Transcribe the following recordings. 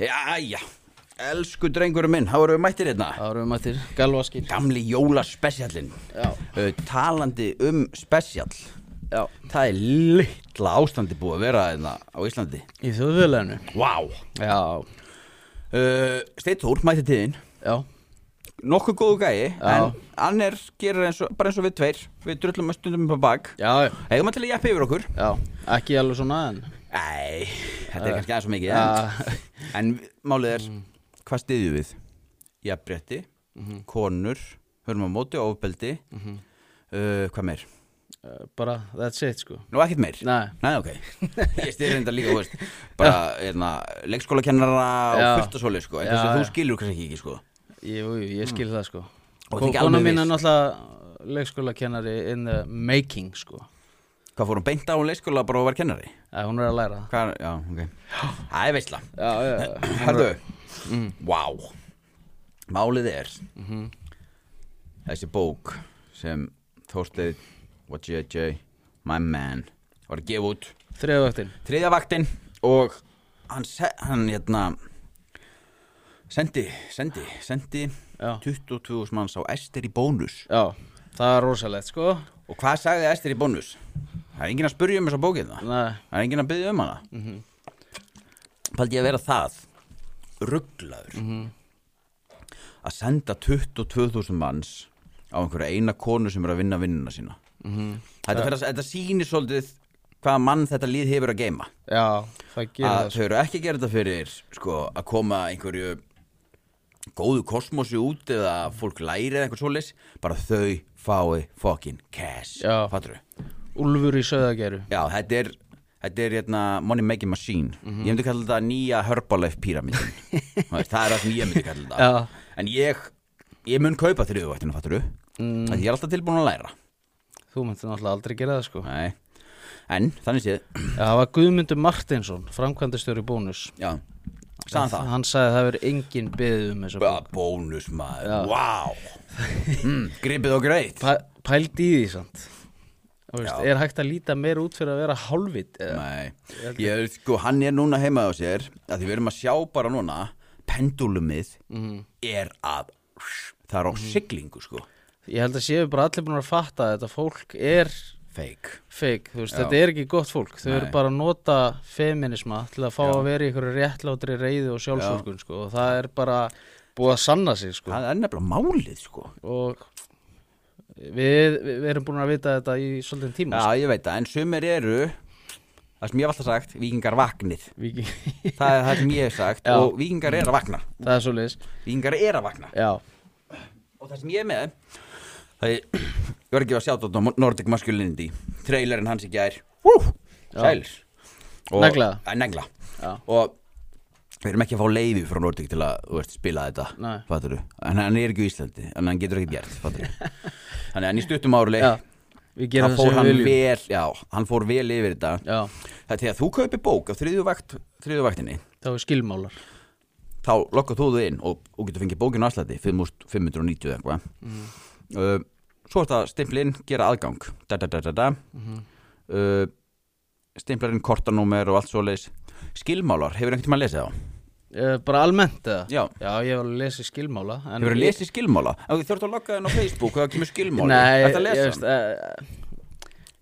Jæja, elsku drengurum minn, þá erum við mættir hérna Það eru mættir galvaskil Gamli jólaspecialin Já. uh, Talandi um special Já. Það er litla ástandi búið að vera hérna á Íslandi Í þjóðfélaginu Vá wow. Já, uh, Steithór mætti tíðin já, Nokkuð góðu gæi Já. En annar gerir eins og, bara eins og við tveir Við drullum að stundum upp á bak já, Eigum að til að jæppi yfir okkur já Ekki alveg svona en Æ, þetta er Eh, kannski aðeins og mikið Já. en, en málið er Hvað stiðju við? Jafnbretti, Mhm. konur Hörum á móti, ofbeldi uh, Hvað meir? uh, Bara, that's it sko Nú ekkert meir? Nei, Nei, ok Ég styrir þetta líka, þú veist Bara, hérna, leikskólakennara Já. og fullt og svoleið, sko En Já, þess að þú já. skilur kannski ekki, sko ég, jú, jú, ég skil það sko Og þetta er ekki Kona alveg mín er viss. náttúrulega leikskólakennari in the making sko Hvað fór hún beint á hún leikskóla bara og var kennari? Það hún er að læra Hvað, já, ok Það er veistla Já, já, já Herðu, vá Málið er Þessi bók sem Þorsteinn, What JJ My man var að gefa út Þriðavöktin Þriðja vaktin og hann, se- hann hérna sendi, sendi, sendi Já. 22.000 manns á Ester í bónus Já, það er rosalegt sko og hvað sagði Ester í bónus? Það er enginn að spurja um þessa bókið það Nei, Það er enginn að byggja um hana mm Mhm. Paldi ég að vera það Rugglaður Mhm. Að senda 22.000 manns Á einhverja eina konu sem er að vinna vinnuna sína Mhm. þetta, fyrir, að- þetta sýnir svolítið Hvaða mann þetta líð hefur að geima já, það gerir Að það sko þau eru ekki að gera þetta fyrir sko, Að koma einhverju Góðu kosmosi út Eða fólk læri eða einhver svoleiðis Bara þau fái fucking cash Já. Fattarðu? sko. Úlfur í söðageru Já, þetta er, þetta er hérna, money making machine Ég myndi kalla þetta nýja Herbalife pyramidin Það er það sem ég myndi kalla þetta Já. En ég, ég mun kaupa þriðuvættinu, fattur du? Mm. Ég er alltaf tilbúin að læra Þú myndir náttúrulega aldrei gera það sko Nei. En, þannig séð Já, það var Guðmundur Martinsson, framkvæmdastjóri bónus Já, sagðan það Hann sagði að það verið engin beðið um þessa Bara bók Bónus maður, wow mm, Gripið og greitt Pæ, Pælt í því samt Þú veist, Er hægt að líta meir út fyrir að vera hálfvit eða? Nei, ég, sko, hann er núna heima á sér að því við erum að sjá bara núna pendulumið er að það er á siglingu sko Ég held að séu bara allir búin að fatta að þetta fólk er fake feik veist, Já. Þetta er ekki gott fólk Þau eru Nei. bara að nota feminisma til að fá að vera í einhverju réttlátri reyði og sjálfsvorkun sko. og það er bara búið að sanna sig sko. það er nefnilega málið sko og við, við erum búin að vita þetta í svolítið tíma sko. Já, ég veit það, en sumir eru það sem ég hef alltaf sagt, vikingar vaknir Viki, það er það sem ég hef sagt Já. og vikingar er að vakna það er svo leiðis vikingar er að vakna Já, og það sem ég er með það er, ég var ekki að sjá þetta á Nordic Masculinity trailerinn hans í gær Wú, sælir Og- Negla. Að negla Já. og við erum ekki að fá leiði frá Nordic til að þú veist, spila þetta Nei. fattaru, en hann er ekki í Íslandi en hann getur ekki gert fattaru þannig að hann í stuttum áruleik já Við það gerum það fór sem hann við viljum vel, já, hann fór vel yfir þetta Já, það er þegar þú kaupir bók á þriðju, vakt, þriðju vaktinni þá er skilmálar þá lokkar þú þau inn og, og getur fengið bókinu afslætti 590 eða eitthvað Mhm. uh, svo er þetta stimplinn gera aðgang da, da, da, da, da. Mhm. Uh, stimplarinn kortanúmer og allt svoleiðis skilmálar, hefur einhvern tímann lesið á Eh, Bara almennt eða? Já. ég var að lesa skilmála en- hefur lesið skilmála, ef þú þurft að lokka þenn á Facebook og það kemur skilmála, Nei, þetta ég lesa veist hann? uh,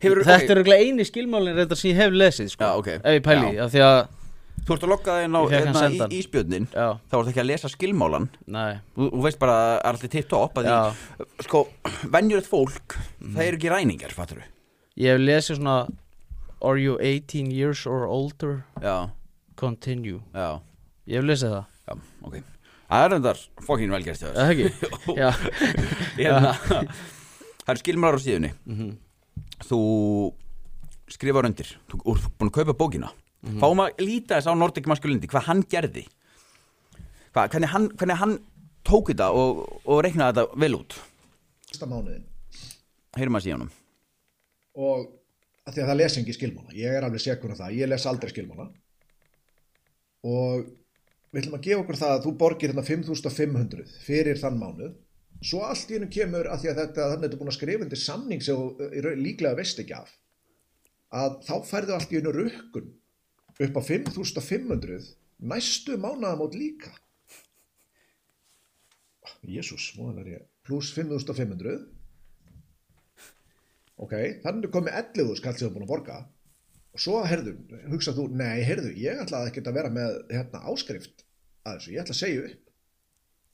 hefur, Þetta okay, er örugglega eini skilmálin reyndar sem ég hef lesið sko, Já, ok. Ef ég pæli, Já. já. af því að þú ert að lokka þenn á Ég fékk hann hérna, sendan. í, í spjöndin Já, þá ert ekki að lesa skilmálan nei, þú, þú veist bara að allt er tipp topp að Já. því, sko, venjulegt fólk það eru ekki ræningar, fattur ég hef lesið svona Are you 18 years or older? já, Continue já Ég hef lesið það, Já, ok Það er endar fokkin velgerst er það ekki? já, Hérna Það eru skilmálar á síðunni Þú skrifar undir Þú úr- þú ert búin að kaupa bókina Fáum að líta þess á Nordic Masculindi Hvað hann gerði Hva, hvernig, hann, hvernig hann tók þetta og, og reiknaði þetta vel út fyrsta mánuðin Heyrum að síðanum og að því að það les ekki skilmála ég er alveg sekur um það, ég les aldrei skilmála og við ætlum að gefa okkur það að þú borgir hérna 5500 fyrir þann mánuð svo allt í hennu kemur að því að þetta þannig að þetta er búin að skrifa undir samning sem þú eh, í raun- líklega veist ekki af að þá færðu allt í hennu rökkun upp á 5500 næstu mánaðamót líka Jésús, móðan er ég pluss 5500 ok, þannig er komið 11.000 kall sem þú er búin að borga og svo herðu, hugsað þú, nei, herðu ég ætlaði ekkert að vera með hérna, áskrift að þessu, ég ætla að segja upp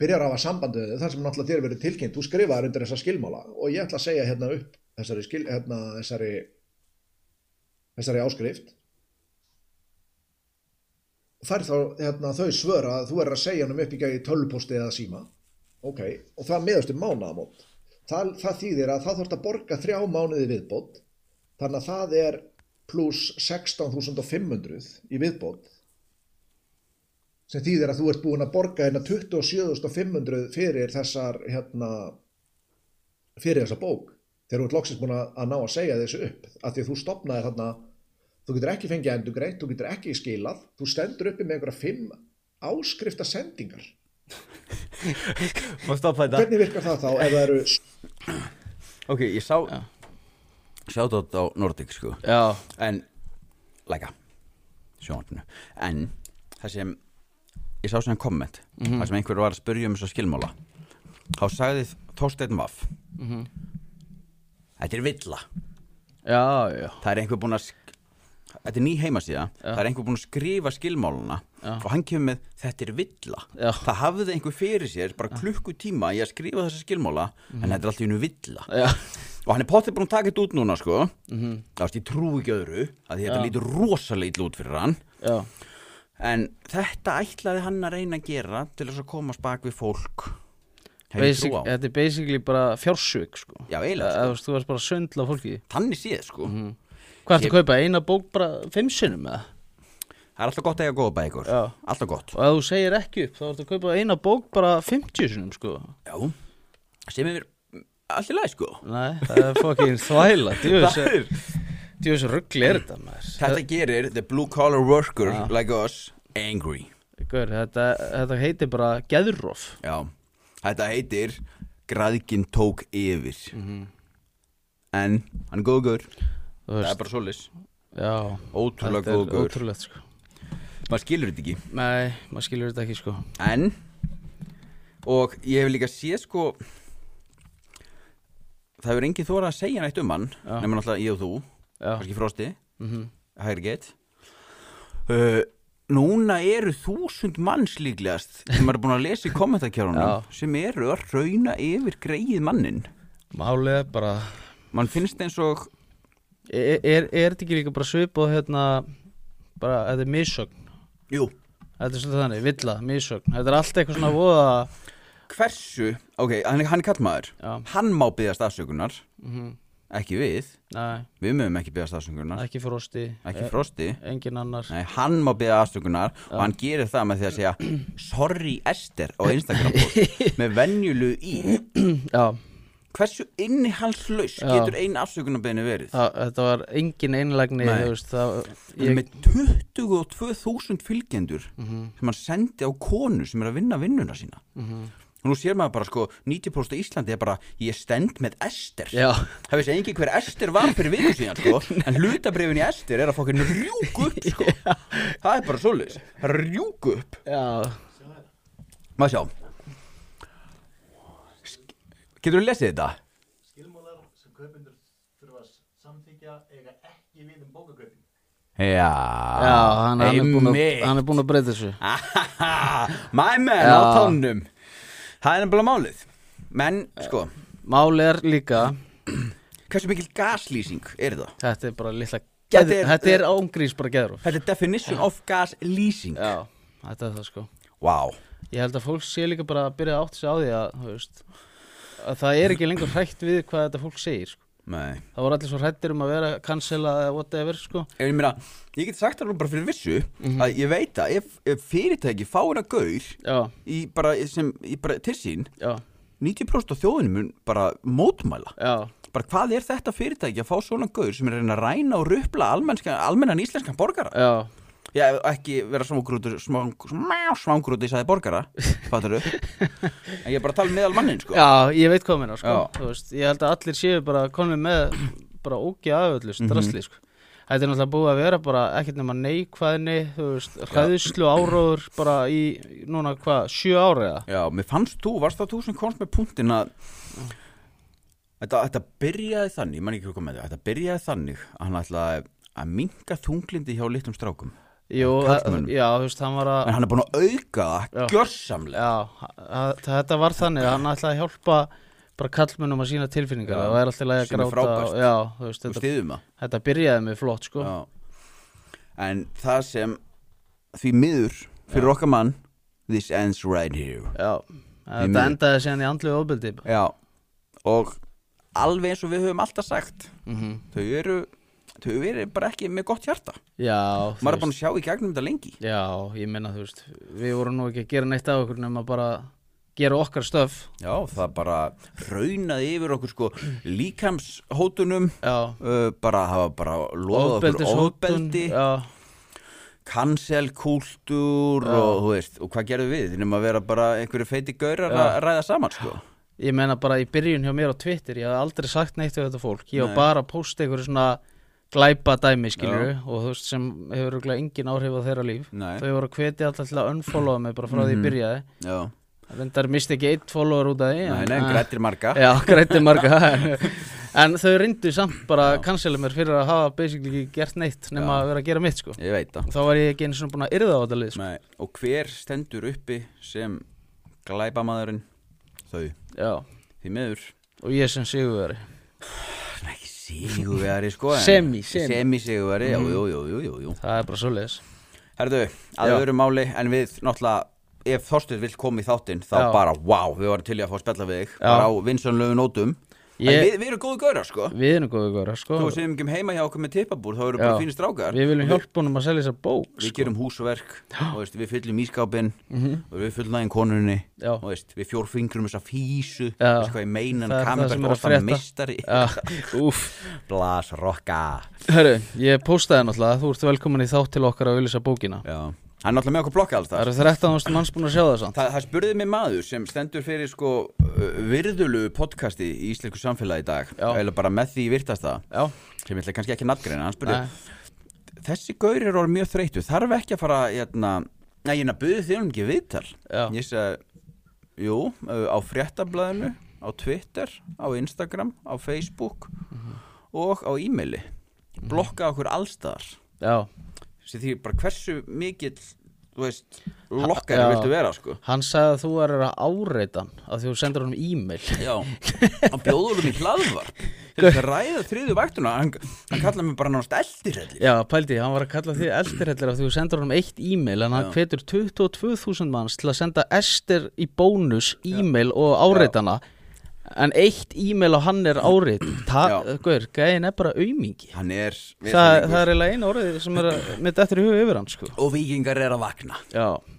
byrjar á að sambandið þar sem náttúrulega þér verið tilkynnt, þú skrifaðir undir þessa skilmála og ég ætla að segja hérna upp þessari, skil, hérna, þessari, þessari áskrift fær þá hérna, þau svör að þú er að segja hann um upp í gæði tölvposti eða síma ok, og það meðast um mánaðamót það, það þýðir að það þurft að borga þrjá mánuði viðbót þannig að það er pluss 16.500 í viðbót sem þýðir að þú ert búin að borga hérna 27.500 fyrir þessar hérna fyrir þessa bók þegar þú ert loksins búin að, að ná að segja þessu upp að því að þú stopnaði þarna þú getur ekki fengið endugreitt, þú getur ekki skilað þú stendur uppi með einhverja fimm áskrifta sendingar Má stoppa þetta hvernig virkar það þá ef það eru Ok, ég sá Sjátt á Nordic sko Já, En Læka Sjónvarpinu En Það sem Ég sá sem komment mm Það sem einhver var að spyrja um þessa skilmála Þá sagði Þorsteinn Vaff Þetta er villa já, já Það er einhver búin að sk- Þetta er ný heimasíða Það er einhver búin að skrifa skilmáluna Og hann kemur með Þetta er villa Já. Það hafði einhver fyrir sér Bara klukkutíma í að skrifa þessa skilmála En þetta er alltaf einu villa Mhm. Já, Mhm. og hann er pottið búin að taka þetta út núna sko mm -hmm. þá veist ég trúi ekki öðru að þetta lítur rosalega illa út fyrir hann já, en þetta ætlaði hann að reyna að gera til þess að komast bak við fólk hef ég Basic, trú á þetta er basically bara fjársök sko. Já, eiginlega, sko. Eða, þú veist, Þú varst bara að söndla fólki þannig séð sko Mhm. Hvað ertu að kaupa, eina bók bara fimm sinnum eða? það er alltaf gott að eiga góða bækur Já. alltaf gott Og ef þú segir ekki upp, þá ertu að kaupa eina bók bara 50 sinnum sko já sem er allir læg sko Nei, það er fokkin þvæla Djúvis, Það er- djúvis ruggli er þetta maður þetta gerir the blue collar worker like us angry Gaur, þetta, þetta heitir bara geðrof Já, þetta heitir Græðgin tók yfir En hann er góður gaur. Þú Það er veist. bara svolis Já, Ótrúlega þetta góður er gaur. Ótrúlegt sko Maður skilur þetta ekki Nei, maður skilur þetta ekki sko En Og ég hef líka séð sko Það hefur engin þóra að segja neitt um hann Já. Nefnir náttúrulega ég og þú Já, Kanski Frosti, mm Hægri Geit uh, Núna eru þúsund manns líklegast sem er búin að lesa í kommentarkjörunum Já. sem eru að rauna yfir greið mannin málið er bara mann finnst eins og Er, er, er þetta ekki líka bara svipað hérna bara, þetta er misögn Jú, Þetta er svolítið þannig, villa, misögn Þetta er allt eitthvað svona voða hversu ok, hann, hann er kallmaður Já. hann má byggja stafsökunar Mhm. ekki við, Nei, við mögum ekki byggja stafsökunar ekki frosti ekki frosti Engin annar Nei, hann má byggja afsökunar og hann gerir það með því að segja sorry Esther á Instagram post með venjulu í Já, hversu innihalslaus Já. getur ein afsökunarbeinu verið það, þetta var engin einlægni Nei. þú veist, það, hann er með 22.000 fylgjendur Mhm. sem hann sendi á konu sem er að vinna vinnuna sína og nú sér maður bara sko 90% í Íslandi er bara ég stend með Ester Já. það veist engin hver Ester var fyrir viku síðan sko en hlutabrifin í Ester er að fokkin rjúk upp sko það er bara svoleiðis rjúk upp Já, maður sjá getur þú lesið þetta? skilmólar sem kaupendur þurfa að samþykja eiga ekki við um bókakaupin. já já hann, hann, er búinn að, einmitt. hann er búin að breyta þessu my man á Já. tónnum það er nefnilega málið menn sko Málið er líka hversu mikil gaslýsing er það Þetta er bara litla Þetta geð, er- Þetta er ángrís bara geðrof þetta er definition of gaslýsing Já, þetta er það sko wow Ég held að fólk sé líka bara að byrja að átta sig á því að, þú veist, að það er ekki lengur hrætt við hvað þetta fólk segir sko. Nei. Það voru allir svo hrættir um að vera cancelað eða whatever sko. ég meina ég get sagt það nú bara fyrir vissu Mhm. að ég veit að ef, ef fyrirtæki fáir að gaur Já, í bara, sem, í bara til sín já, 90% af þjóðinu mun bara mótmæla já, bara hvað er þetta fyrirtæki að fá svona gaur sem er að reyna að ræna og rupla almennskan- almennan íslenskan borgara já Já, ef ekki vera svangrútur svangrútur í sæði borgara fattar þau en ég er bara að tala meðal mannin sko Já, ég veit hvað meina sko. Já. Mhm. Þú veist, Ég held að allir séu bara konum með bara ógja af öllu strasli sko. þetta er náttúrulega búið að vera bara ekkert nema neikvæðinni, þú veist, hræðslu áróður bara í, núna hvað, sjö ára eða? Já, mér fannst þú, varst það þú sem komst með punktin að þetta, þetta byrjaði þannig, ég man ekki hvað með þetta, þetta byrjaði þannig að hann ætlaði að minka þunglindi hjá litlum strákum Jú, karlmönnum. að- já, þú veist, hann var að, en hann er búin að auka Já. það gjörsamlega já, að, þetta var þannig, hann ætlaði að hjálpa bara kallmennum að sína tilfinningar, Já, það var alltaf að sem er gráta, frábært. og- já, þú veist, og þetta, stiðum það þetta byrjaði mig flott, sko, Já. en það sem því miður fyrir okkar mann this ends right here já, þetta miður. endaði síðan í andlu ofbeldi, Já. og alveg eins og við höfum alltaf sagt Mhm. þau eru þau eru bara ekki með gott hjarta já, þú maður er búin að sjá í gegnum þetta lengi Já, ég minna þú veist Við vorum nú ekki að gera neitt af okkur nema bara gera okkar stöf já, það bara raunaði yfir okkur sko líkamshótunum Já, uh, bara hafa bara lofað okkur ofbeldi Já, cancelkúltúr og, þú veist, og hvað gerðum við? Við erum að vera bara einhverju feiti gaurar að Já. ræða saman sko. ég meina bara í byrjun hjá mér á Twitter Ég hafði aldrei sagt neitt við þetta fólk Ég Nei. var bara að posta einhverju svona glæpa dæmi skilur og þú veist sem hefur örugglega engin áhrif á þeirra líf Nei. Mhm. Þau voru að hvetja alltaf til að unfollowa mig bara frá því ég byrjaði Já, Reyndar misti ekki eitt follower út af því nei, en- nei, Ah. grættir marga Já, grætti marga En þau reyndu samt bara að cancela mér fyrir að hafa basically ekki gert neitt nema Já. að vera að gera mitt sko Ég veit það þá var ég ekki einu svona búin að yrða á þetta lið sko. nei. Og hver stendur uppi sem glæpamaðurinn? Þau, Já, því miður og ég sem sigurveri Nei, ekki sigurveri sko en- Semi, semi. Mhm. Semi-sigurveri, já, jú, jú, jú, jú, jú það er bara svoleiðis Herðu, að Já. öðru máli en við náttúrulega Ef Þorstuð vill koma í þáttinn, þá Já. bara, wow, við varum til í að fá að spjalla við þig bara á vinsanlegu nótum En Ég- við, við erum góðu gaurar, sko Við erum góðu góður sko. Þó sem ekki um heima hjá okkur með tippabúr, þá eru Já. bara fínir strákar Við viljum hjálpa honum að selja þessa bók Við sko. Mhm. gerum húsverk, og veist, við fyllum ískápinn og við fyllum aðeins konunni Já. og veist, við fjórfingrum þessa físu Já. veist hvað ég meina, Það hann er kamibert það sem er að ofta frétta. mistari Já, úff Blas rocka Herru, ég postaði náttúrulega Þú ert velkomin í þátt til okkar að vilja þessa bókina Já. Hann er náttúrulega með okkur blokka alls Það þar eru 13.000 manns búin að sjá það samt Þa, Það spurði mig maður sem stendur fyrir sko uh, virðulu podcasti í íslensku samfélagi í dag Já. eða bara með því virtast það Já, sem ég ætla kannski ekki að nafngreina hann spurði, nei, þessi gaur er orðið mjög þreytu þarf ekki að fara hérna, nei, hérna buðu þér um ekki viðtal Já. ég sagði, jú, uh, á fréttablaðinu á Twitter, á Instagram á Facebook og á e-maili blokka okkur allstaðar já sem því bara hversu mikill þú veist, lokkari Já. viltu vera sko Hann sagði að þú er að áreita hann að því þú sendur honum e-mail Já, hann bjóður um í hlaðvar til þess að ræða þriðu vaktuna hann, hann kallaði mig bara náttúrulega eldirhellir Já, pældi, hann var að kalla þig eldirhellir af því þú sendur honum eitt e-mail en hann Já. hvetur 22.000 manns til að senda Ester í bónus e-mail og áreitana en eitt e-mail á hann er árit Já. Ta- Guður, gæðin er bara aumingi Hann er Þa, Það er eiginlega einu orðið sem er að mitt eftir í huga yfir hann sko og vikingar er að vakna Já,